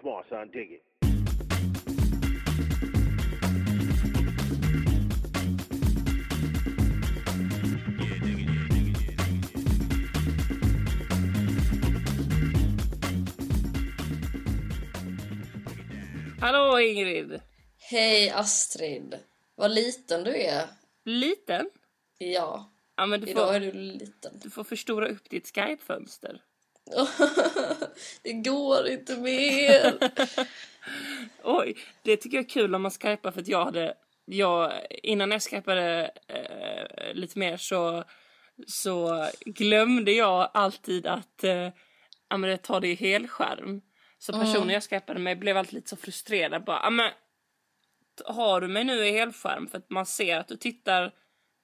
Come on, son, dig it. Hallå Ingrid! Hej Astrid! Vad liten du är. Liten? Ja, Ja men du idag är får, du liten. du får förstora upp ditt Skype-fönster. Det går inte mer. Oj, det tycker jag är kul om man skypar för att jag hade... Jag, innan jag skypade eh, lite mer så, så glömde jag alltid att eh, ja, men det- ta det i helskärm. Så Mm. personer jag skypade med blev alltid lite så frustrerad. Bara, ja, men, t- har du mig nu i helskärm? För att man ser att du tittar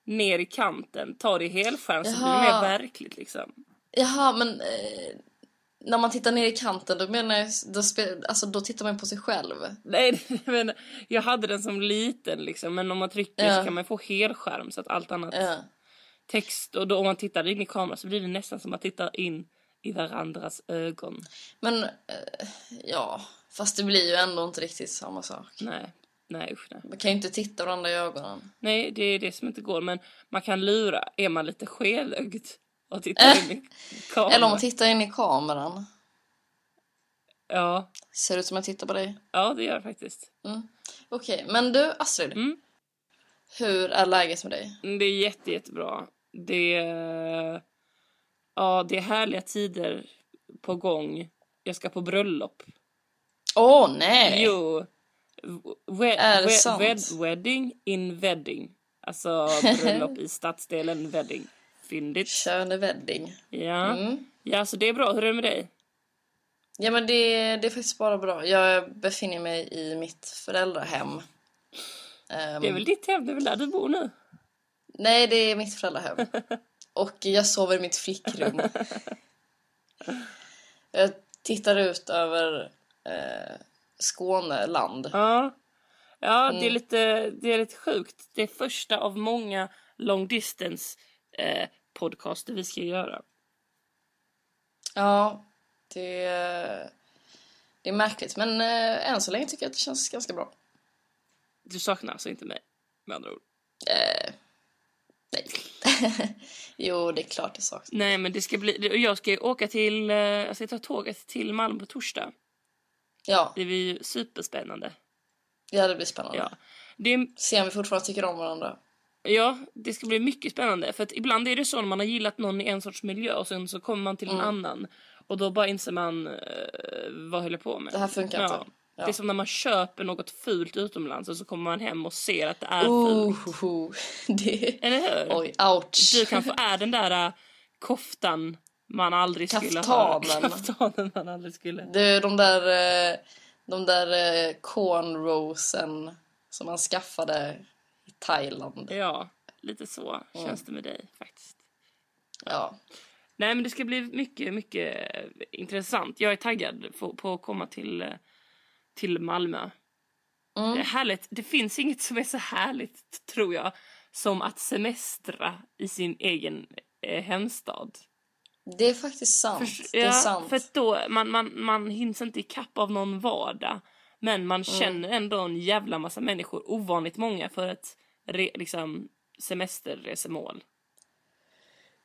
ner i kanten. Ta det i helskärm så blir det mer Jaha. verkligt liksom. Jaha, men eh, när man tittar ner i kanten då menar jag, då, spe, alltså, då tittar man på sig själv. Nej, men jag hade den som liten liksom. Men om man trycker så Ja. kan man få helskärm så att allt annat Ja. text. Och då om man tittar in i kameran så blir det nästan som att titta in i varandras ögon. Men eh, ja, fast det blir ju ändå inte riktigt samma sak. Nej, nej usch nej. Man kan ju inte titta varandra i ögonen. Nej, det är det som inte går. Men man kan lura. Är man lite skelögd och tittar in i kameran? Eller om man tittar in i kameran. ja, Ser ut som jag tittar på dig. ja, det gör det faktiskt. Okej, men du Astrid. Mm. Hur är läget med dig? Det är jätte, jättebra. Det är, ja, det är härliga tider på gång. Jag ska på bröllop. Åh nej! Jo. We- Är det we- sant? wed- wedding in wedding. Alltså bröllop i stadsdelen wedding. Fyndigt. Körande wedding. Ja. Mm. ja, så det är bra. Hur är det med dig? Ja men det, det är faktiskt bara bra. Jag befinner mig i mitt föräldrahem. Ehm, Det är väl ditt hem? Det är väl där du bor nu? Nej, det är mitt föräldrahem. Och jag sover i mitt flickrum. Jag tittar ut över eh, Skåneland. Ja. Ja, det, är Mm. lite, det är lite sjukt. Det är första av många long distance eh, podcaster vi ska göra. Ja, det, det är märkligt. Men eh, än så länge tycker jag att det känns ganska bra. Du saknar alltså inte mig med andra ord. Nej. jo, det är klart det saknas. Nej, men det ska bli. det- och Jag ska ju åka till. eh, Jag ska ta tåget till Malmö på torsdag. Ja, Det blir ju superspännande. ja, det blir spännande. Ja. Det är Se om vi fortfarande tycker om varandra. Ja, det ska bli mycket spännande. För att ibland är det så när man har gillat någon i en sorts miljö och sen så kommer man till Mm. en annan. Och då bara inser man, eh, vad höll jag på med? Det här funkar ja. inte. Ja. Det är som när man köper något fult utomlands och så kommer man hem och ser att det är fult. Oh, oh, oh. Det... Eller hur? Oj, ouch. Eh, Du kanske är den där eh, koftan man aldrig skulle ha. Kaftanen. Kaftanen man aldrig skulle Det är de där, eh, de där eh, cornrowsen som man skaffade i Thailand. Ja, lite så känns det med dig faktiskt. Ja. Nej men det ska bli mycket, mycket eh, intressant. Jag är taggad på, på att komma till, eh, till Malmö. Mm. Det är härligt. Det finns inget som är så härligt, tror jag, som att semestra i sin egen eh, hemstad. Det är faktiskt sant. det är ja, sant. För att då, man, man, man hinns inte ikapp av någon vardag. Men man Mm. känner ändå en jävla massa människor, ovanligt många, för ett re, liksom, semesterresemål.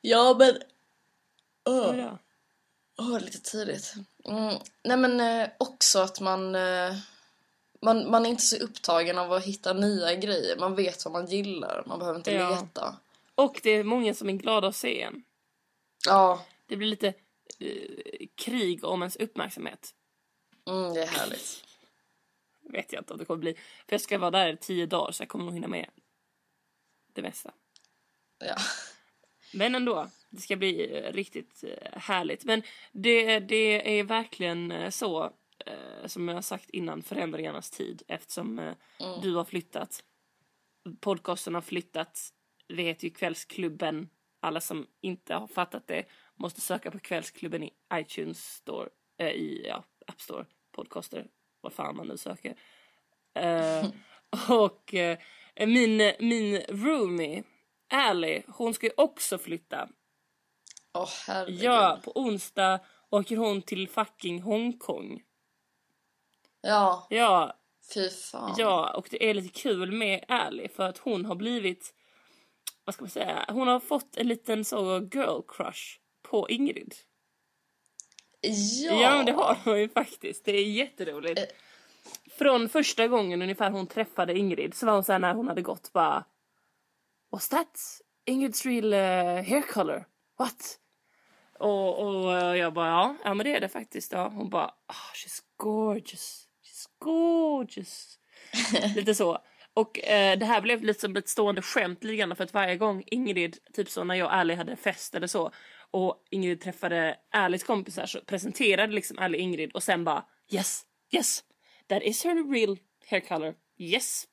Ja, men... Hur Åh, är det? åh, lite tidigt. Mm. Nej, men eh, också att man, eh, man... Man är inte så upptagen av att hitta nya grejer. Man vet vad man gillar. Man behöver inte Ja. leta. Och det är många som är glada att se en. Ja, Det blir lite eh, krig om ens uppmärksamhet. mm, det är härligt. Vet jag inte om det kommer bli. För jag ska vara där i tio dagar så jag kommer nog hinna med det mesta. Ja. Men ändå, det ska bli eh, riktigt eh, härligt. Men det, det är verkligen eh, så, eh, som jag har sagt innan, förändringarnas tid. Eftersom eh, du har flyttat, podcasten har flyttat, vi heter ju Kvällsklubben. Alla som inte har fattat det måste söka på Kvällsklubben i iTunes store, eh, i ja, App Store, podcaster, vad fan man nu söker. Eh, och eh, min, min roomie, Ally, hon ska ju också flytta. Åh, herregud. Ja, på onsdag åker hon till fucking Hongkong. Ja, Ja, fy fan. ja, och det är lite kul med Ally för att hon har blivit, vad ska man säga, hon har fått en liten så girl crush på Ingrid. Ja. Ja, men det har hon ju faktiskt. Det är jätteroligt. Eh. Från första gången ungefär hon träffade Ingrid så var hon såhär när hon hade gått bara What's that? Ingrid's real eh, hair color? What? Och, och eh, jag bara ja, ja men det är det faktiskt. Ja. Hon bara oh, she's gorgeous, she's gorgeous. lite så. Och eh, det här blev lite som ett stående skämt lite grann för att varje gång Ingrid, typ så när jag och Ally hade fest eller så och Ingrid träffade Allys kompisar så presenterade liksom Ally Ingrid och sen bara yes, yes, that is her real hair color, yes.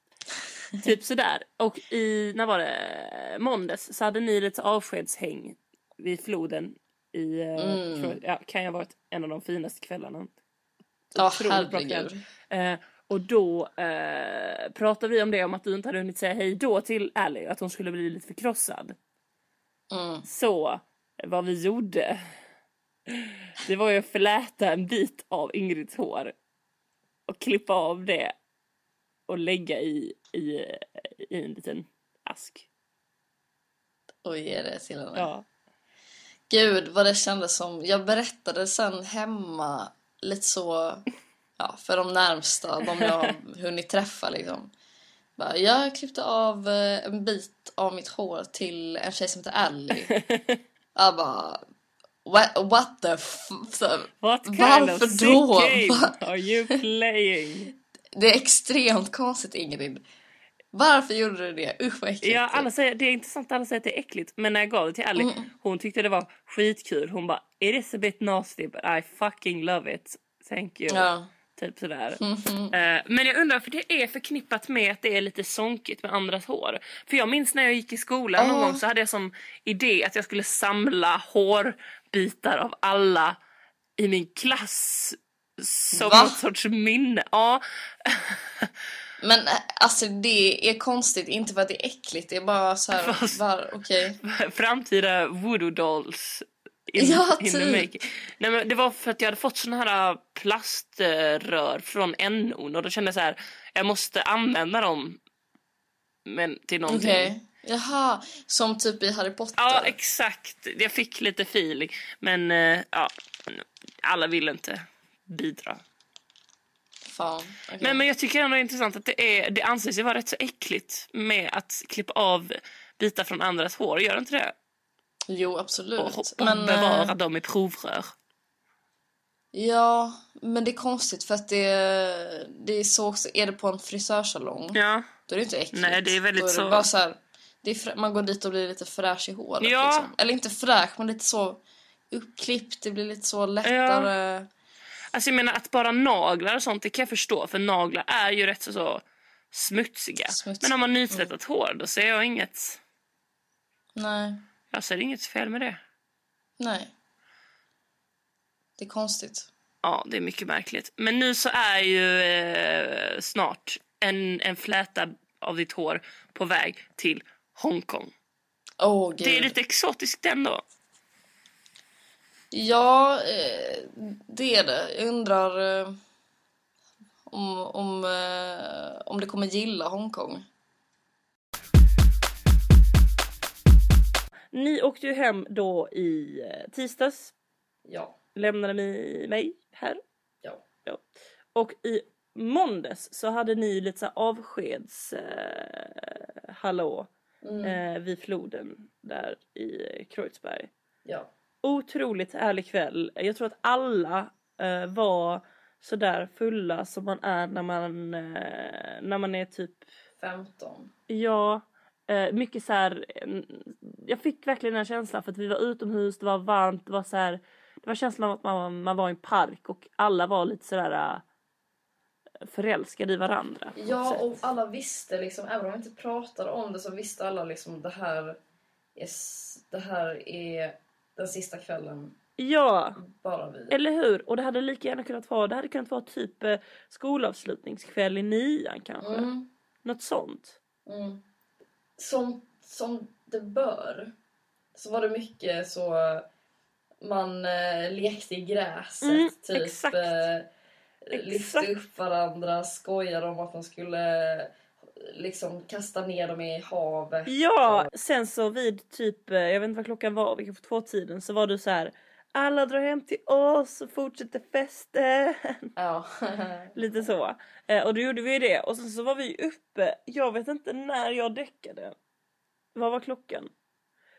typ sådär. Och i, när var det, måndags så hade ni lite avskedshäng vid floden i, eh, tror, ja, kan ju ha varit en av de finaste kvällarna. Ja, Otroligt bra kväll. herregud. Eh, och då eh, pratade vi om det, om att du inte hade hunnit säga hej då till Ally, att hon skulle bli lite förkrossad. Mm. Så, vad vi gjorde, det var ju att fläta en bit av Ingrids hår och klippa av det och lägga i, i, i en liten ask. Och ge det till henne. Ja. Gud vad det kändes som. Jag berättade sen hemma lite så ja, för de närmsta, de jag har hunnit träffa liksom. Bara, jag klippte av eh, en bit av mitt hår till en tjej som heter Ally. Jag bara what, what the f... så- What kind Varför of sick då? game are you playing? Det är extremt konstigt Ingrid. Varför gjorde du det? Usch vad äckligt. Ja, alla säger, det är intressant, alla säger att det är äckligt. Men när jag gav det till Ally, Mm. hon tyckte det var skitkul. Hon bara, it is a bit nasty but I fucking love it. Thank you. Ja. Mm-hmm. Typ sådär. Eh, men jag undrar, för det är förknippat med att det är lite sonkigt med andras hår. För jag minns när jag gick i skolan någon Ja. gång så hade jag som idé att jag skulle samla hårbitar av alla i min klass. Som Va? något sorts minne. Ja. Men eh, alltså det är konstigt, inte för att det är äckligt, det är bara så här, var, okej. framtida voodoo dolls in, Ja, in the typ. making. Nej, men det var för att jag hade fått såna här äh, plaströr från NO och då kände jag så här, jag måste använda dem men till någonting. Okej. Jaha, som typ i Harry Potter? Ja, exakt. Jag fick lite feeling. Men eh, ja, alla vill inte bidra. Fan. okej. Men, men jag tycker ändå det är intressant att det, är, det anses ju vara rätt så äckligt med att klippa av bitar från andras hår. Gör det inte det? Jo, absolut. Och, och men, eh, bevara dem i provrör. Ja, men det är konstigt för att det, det är så också, är det på en frisörsalong Ja. då är det inte äckligt. Nej, det är väldigt då är det så- Bara så här, det är frä- man går dit och blir lite fräsch i håret. Ja. Liksom. Eller inte fräsch, men lite så uppklippt, det blir lite så lättare. Alltså jag menar att bara naglar och sånt det kan jag förstå för naglar är ju rätt så, så smutsiga. Smuts. Men om man nytvättat hår då ser jag inget, Nej, jag ser inget fel med det. nej. Det är konstigt. Ja, det är mycket märkligt. Men nu så är ju eh, snart en, en fläta av ditt hår på väg till Hongkong. Åh gud. Det är lite exotiskt ändå. Ja, eh, det är det. Jag undrar eh, om, om, eh, om det kommer gilla Hongkong. Ni åkte ju hem då i eh, tisdags, Ja, lämnade ni mig här ja. Ja. Och i måndags så hade ni lite så här avskeds eh, hallå Mm. eh, vid floden där i Kreuzberg. ja. Otroligt härlig kväll. Jag tror att alla eh, var sådär fulla som man är när man, eh, när man är typ 15. Ja, eh, mycket så här. en- Jag fick verkligen den här känslan för att vi var utomhus, det var varmt, det var så här. Det var känslan av att man, man var i en park och alla var lite sådär eh, förälskade i varandra. på något Ja, sätt. och alla visste liksom, även om vi inte pratade om det så visste alla liksom det här är, s- det här är den sista kvällen, ja, bara vi. eller hur? Och det hade lika gärna kunnat vara, det hade kunnat vara typ eh, skolavslutningskväll i nian kanske. Mm, Något sånt. mm. Som, som det bör så var det mycket så man eh, lekte i gräset. Mm, typ, exakt. eh, lyfte upp varandra, skojade om att de skulle eh, liksom kasta ner dem i havet. Ja, sen så vid typ, eh, jag vet inte vad klockan var, vi kanske två tiden, så var du så här. Alla drar hem till oss och fortsätter festen. Ja. Lite så. Eh, och då gjorde vi ju det. Och sen så var vi ju uppe, jag vet inte när jag däckade. Vad var klockan?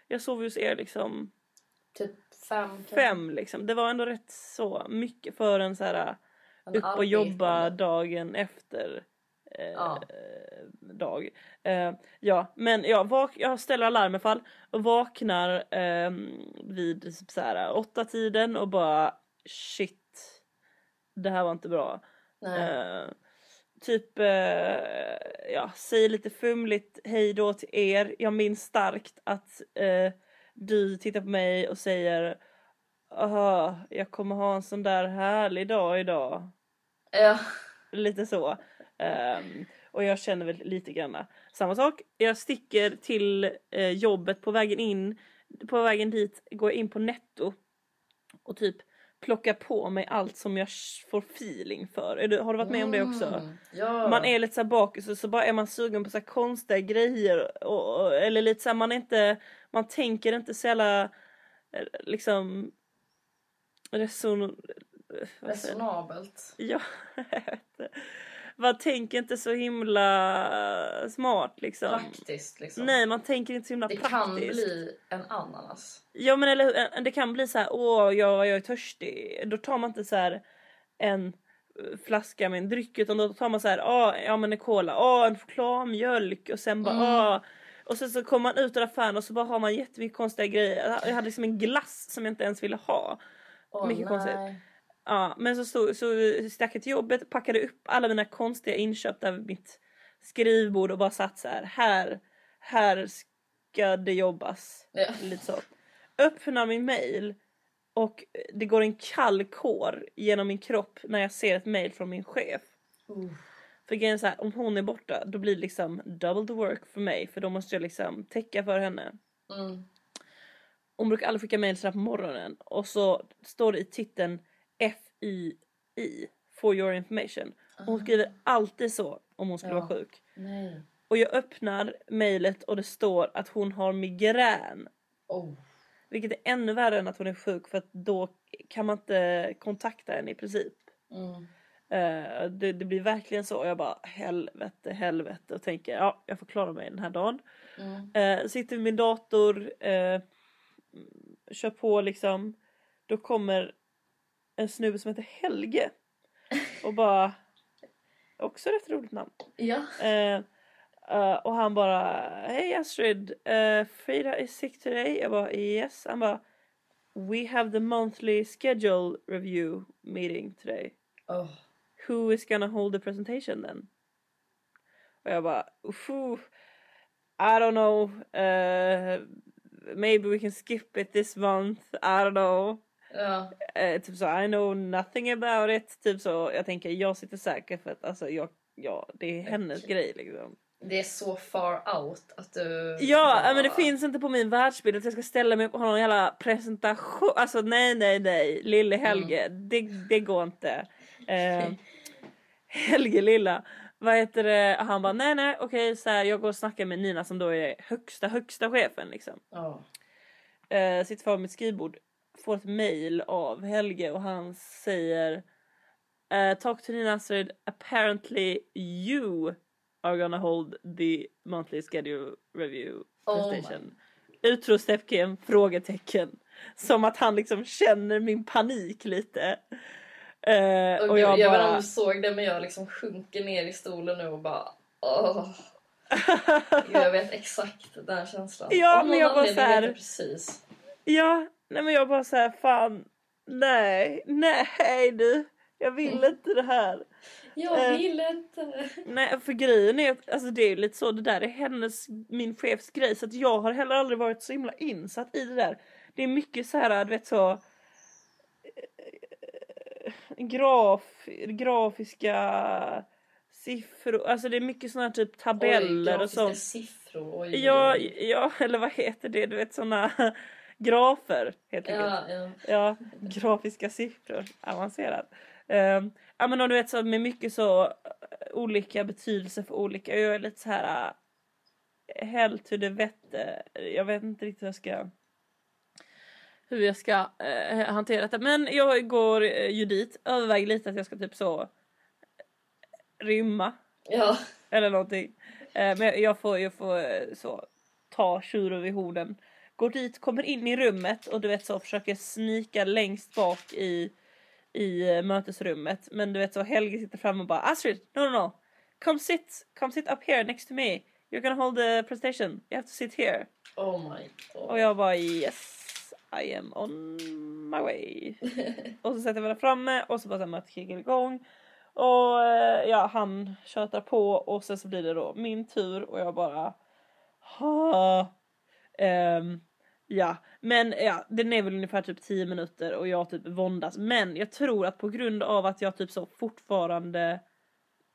Jag sov hos er liksom typ fem. kanske. fem liksom. Det var ändå rätt så mycket för en så här eh, En upp och arbetande. jobba dagen efter eh, Ja. dag. Eh, ja, men ja, vak- jag ställer alarm i alla fall och vaknar ehm, vid typ så här åtta tiden och bara shit, det här var inte bra. Nej. Eh, typ, eh, ja, säger lite fumligt hej då till er. Jag minns starkt att eh, du tittar på mig och säger Aha, jag kommer ha en sån där härlig dag idag. Eh, Ja. Lite så. Ehm, och jag känner väl lite grann samma sak. Jag sticker till eh, jobbet på vägen in. På vägen dit går jag in på Netto och typ plockar på mig allt som jag sh- får feeling för. Är du, har du varit med om det också? Mm. Ja. Man är lite såhär bakis och så bara är man sugen på så här konstiga grejer. Och, och, eller lite såhär man är inte, man tänker inte så jävla eh, liksom reson... vad säger- Resonabelt. Ja, jag vet inte. Man tänker inte så himla smart liksom. Praktiskt liksom. Nej, man tänker inte så himla det praktiskt. kan bli en ananas. Ja, men eller hur? En- Det kan bli så här, åh, jag, jag är törstig. Då tar man inte så här en eh, flaska med en dryck utan då tar man så här, åh, ja men en cola, åh, en chokladmjölk och sen bara, Mm. åh. Och sen så kommer man ut ur affären och så bara har man jättemycket konstiga grejer. Jag hade liksom en glass som jag inte ens ville ha. Åh, Mycket nej. konstigt. Ja, men så, stod, så stack jag till jobbet, packade upp alla mina konstiga inköp där vid mitt skrivbord och bara satt så här. Här, här ska det jobbas. Ja. Lite så. Öppnar min mail och det går en kall kår genom min kropp när jag ser ett mail från min chef. Uh. För grejen är så här, om hon är borta då blir det liksom double the work för mig för då måste jag liksom täcka för henne. Mm. Hon brukar aldrig skicka mejl sådär på morgonen och så står det i titeln FII, for your information. Och hon skriver alltid så om hon skulle Ja. vara sjuk. Ah, Nej. Och jag öppnar mejlet och det står att hon har migrän. Oh. Vilket är ännu värre än att hon är sjuk för att då kan man inte kontakta henne i princip. Mm. Eh, det, det blir verkligen så. Och jag bara helvete, helvete och tänker ja, jag får klara mig den här dagen. Mm. Eh, sitter vid min dator, eh, mm, kör på liksom. Då kommer en snubbe som heter Helge. Och bara... Också rätt roligt namn. Ja. Eh, eh, och han bara Hej Astrid, eh, Frida is sick today. Jag bara yes. Han bara We have the monthly schedule review meeting today. Oh. Who is gonna hold the presentation then? Och jag bara, "Oof, I don't know, eh, maybe we can skip it this month, I don't know. Ja. Eh, typ så, I know nothing about it. Typ så, jag tänker, jag sitter säker för att alltså, jag, ja, det är hennes Okej. grej liksom. Det är så far out att du... Ja, äh, men det finns inte på min världsbild att jag ska ställa mig upp och ha någon jävla presentation. Alltså nej, nej, nej, lille Helge, det, det går inte. Eh, Helge lilla, vad heter det? Han bara nej, nej, okej, så här, jag går och snackar med Nina som då är högsta, högsta chefen liksom. Ja. Eh, sitter framför mitt skrivbord, får ett mail av Helge och han säger eh, Talk to Nina Astrid, apparently you are gonna hold the monthly schedule review Oh presentation. Utropstecken, frågetecken. Som att han liksom känner min panik lite. Eh, Och och jag, jag vet inte om bara... du såg det men jag liksom sjunker ner i stolen nu och bara... Åh. Gud, jag vet exakt den här känslan. Ja, Av men någon jag bara anledning så här- vet jag precis. Ja, nej men jag bara så här, fan. Nej, nej du. Jag vill Mm. inte det här. Eh. Jag vill inte. Nej, för grejen är att alltså det är ju lite så, det där är hennes, min chefs grej så att jag har heller aldrig varit så himla insatt i det där. Det är mycket så här, du vet så eh, graf, grafiska siffror, alltså det är mycket såna här typ tabeller Oj, och sånt. grafiska siffror. Oj, oj, Ja, oj. ja, eller vad heter det, du vet såna grafer helt enkelt. ja, ja. Ja, grafiska siffror. Avancerat. Eh, ja men och du vet så med mycket så eh, olika betydelser för olika. Jag är lite så här eh, hell to the vet. eh, Jag vet inte riktigt hur jag ska hur jag ska eh, hantera detta. Men jag går eh, ju dit, överväger lite att jag ska typ så rymma Ja. eller någonting. Eh, men jag får, jag får eh, så ta tjuren vid horden. Går dit, kommer in i rummet och du vet så försöker snika längst bak i, i eh, mötesrummet. Men du vet så Helge sitter fram och bara Astrid, no no no. Come sit, come sit up here next to me. You're gonna hold the presentation. You have to sit here. Oh my god. Och jag bara yes. I am on my way. och så sätter vi det framme och så bara så här mötet kickar igång. Och eh, ja, han tjötar på och sen så blir det då min tur och jag bara ha. Ehm, ja, men ja, den är väl ungefär typ 10 minuter och jag typ våndas. Men jag tror att på grund av att jag typ så fortfarande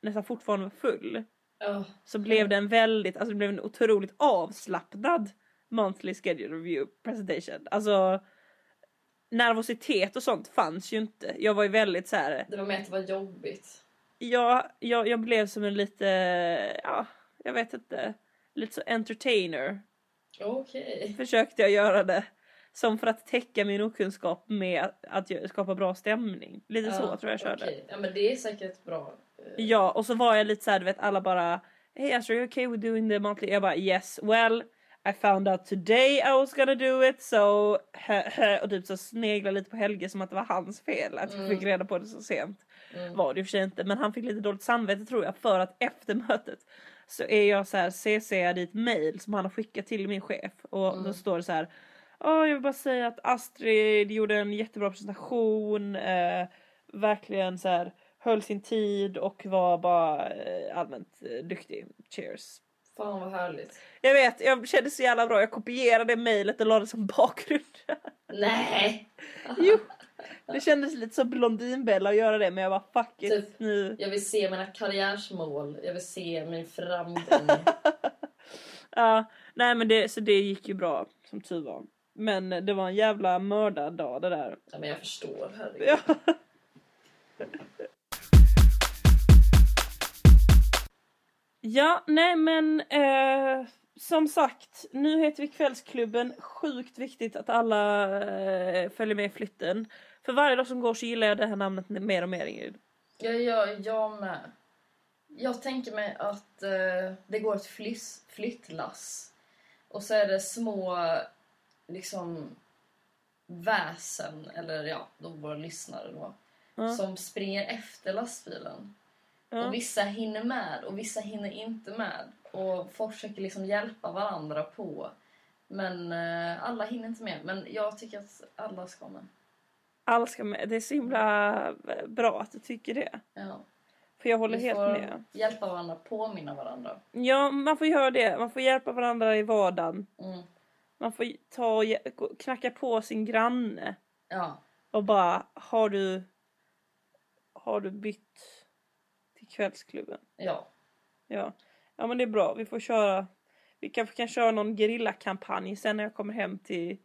nästan fortfarande var full Ja. så blev det en väldigt, alltså det blev en otroligt avslappnad monthly schedule review presentation. Alltså nervositet och sånt fanns ju inte. Jag var ju väldigt så här. Det var med att det var jobbigt. jag, jag, jag blev som en lite, ja, jag vet inte, lite så entertainer Okej. försökte jag göra det. Som för att täcka min okunskap med att- att jag- skapa bra stämning. Lite så tror jag jag körde. okej. Ja men det är säkert bra. Eh, Ja, och så var jag lite så här, du vet alla bara Hey Astrid, are you okay with doing the monthly? Jag bara yes, well I found out today I was gonna do it so och typ så sneglade lite på Helge som att det var hans fel att jag Mm. fick reda på det så sent. Mm. Var det i och för sig inte, men han fick lite dåligt samvete tror jag för att efter mötet så är jag så här CC'ad i ett mail som han har skickat till min chef och då Mm. står det så här "Ja, jag vill bara säga att Astrid gjorde en jättebra presentation. Eh, verkligen så här höll sin tid och var bara eh, allmänt eh, duktig. Cheers. Fan vad härligt. Jag vet, jag kände så jävla bra. Jag kopierade det mejlet och la det som bakgrund. Nej! jo! Det kändes lite som Blondinbella att göra det men jag var fuck it Typ. nu. Jag vill se mina karriärsmål. Jag vill se min framgång. Ja, nej men det, så det gick ju bra som tur var. Men det var en jävla mördardag det där. ja men jag förstår. Herregud. Ja. Ja, nej men eh, som sagt, nu heter vi Kvällsklubben. Sjukt viktigt att alla eh, följer med i flytten. För varje dag som går så gillar jag det här namnet mer och mer Ingrid. Jag, jag, jag med. Jag tänker mig att eh, det går ett flyss, flyttlass. Och så är det små liksom väsen, eller ja, då våra lyssnare då, Ja. som springer efter lastbilen. Ja. Och vissa hinner med och vissa hinner inte med. Och folk försöker liksom hjälpa varandra på. Men eh, alla hinner inte med. Men jag tycker att alla ska med. Alla ska med. Det är så himla eh, bra att du tycker det. Ja. För jag håller Vi helt får med. hjälpa varandra, påminna varandra. Ja, man får göra det. Man får hjälpa varandra i vardagen. Mm. Man får ta och ge- gå- knacka på sin granne Ja. och bara har du har du bytt till kvällsklubben? Ja. Ja. ja, men det är bra. Vi får köra. Vi kanske kan köra någon gerillakampanj sen när jag kommer hem till,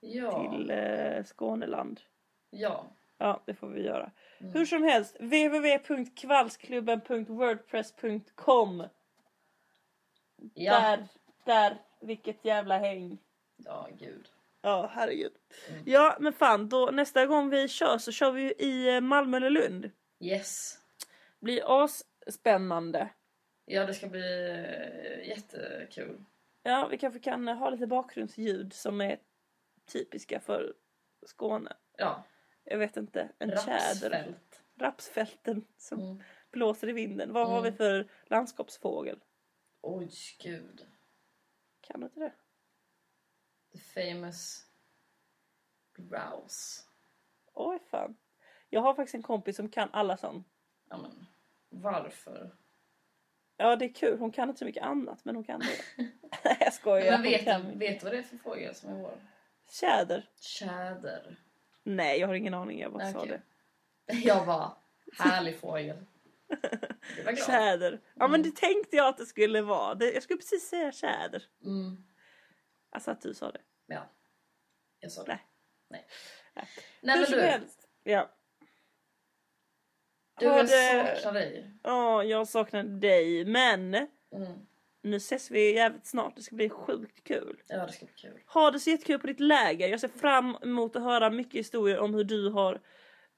Ja. till eh, Skåneland. ja. Ja, det får vi göra. Mm. Hur som helst, www.kvallsklubben.wordpress.com Ja. Där, där, vilket jävla häng. Ja, gud. Ja, herregud. Mm. Ja, men fan, då, nästa gång vi kör så kör vi ju i eh, Malmö eller Lund. Yes. Blir asspännande. Ja, det ska bli eh, jättekul. Ja, vi kanske kan eh, ha lite bakgrundsljud som är typiska för Skåne. Ja. Jag vet inte, en tjäder. Rapsfält. Rapsfälten som Mm. blåser i vinden. Vad har vi Mm. för landskapsfågel? Oj, gud. Kan du inte det? The famous grouse. Oj fan. Jag har faktiskt en kompis som kan alla sånt. Ja, men varför? Ja, det är kul. Hon kan inte så mycket annat, men hon kan det. Nej, jag skojar. men Hon vet, kan du- mycket. vet du vad det är för fågel som är vår? Tjäder? Tjäder. Nej, jag har ingen aning. Jag bara Nej, sa okej. det. Jag bara, härlig fågel. Det var glad. Mm. Tjäder. Ja, men det tänkte jag att det skulle vara. Det, jag skulle precis säga tjäder. Mm. Alltså att du sa det. Ja. Jag sa det. Nej. Nej. Nej. Nej, Hur men som du. helst. Ja. Du, jag saknar dig. Ja, jag saknar dig. Men Mm. nu ses vi jävligt snart. Det ska bli sjukt kul. Ja, det ska bli kul. Ha det så jättekul på ditt läger. Jag ser fram emot att höra mycket historier om hur du har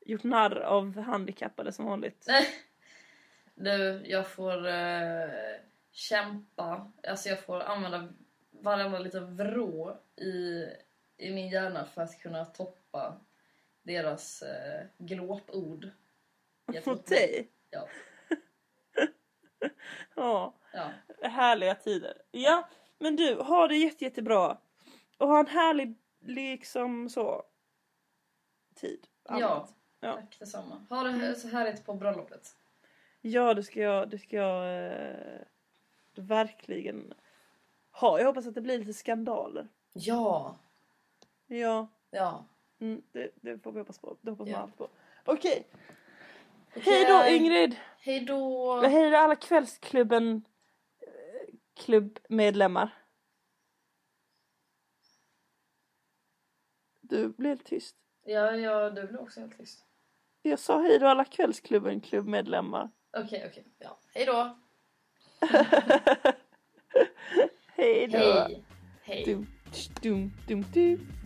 gjort narr av handikappade som vanligt. Du, jag får eh, kämpa. Alltså jag får använda varenda liten vrå i, i min hjärna för att kunna toppa deras eh, glåpord. Mot dig. Ja. Ja, ja. härliga tider. Ja, men du, ha det jätte, jättebra. Och ha en härlig, liksom så, tid. ja. Ja. Tack detsamma. Ha det här- så härligt på bröllopet. Ja, det ska jag, det ska jag eh, verkligen ha. Jag hoppas att det blir lite skandaler. Ja. Ja, Ja. mm, det, det får vi hoppas på. Det hoppas Ja. man alltid på. Okej, hej då Ingrid! Hej då. Och hej då alla kvällsklubben eh, klubbmedlemmar. Du blev helt tyst. Ja, ja, du blir också helt tyst. Jag sa hej då alla kvällsklubben klubbmedlemmar. Okej, okej. Ja. Hej då. Hej då. Hej. Hej. Dum, dum, dum, dum.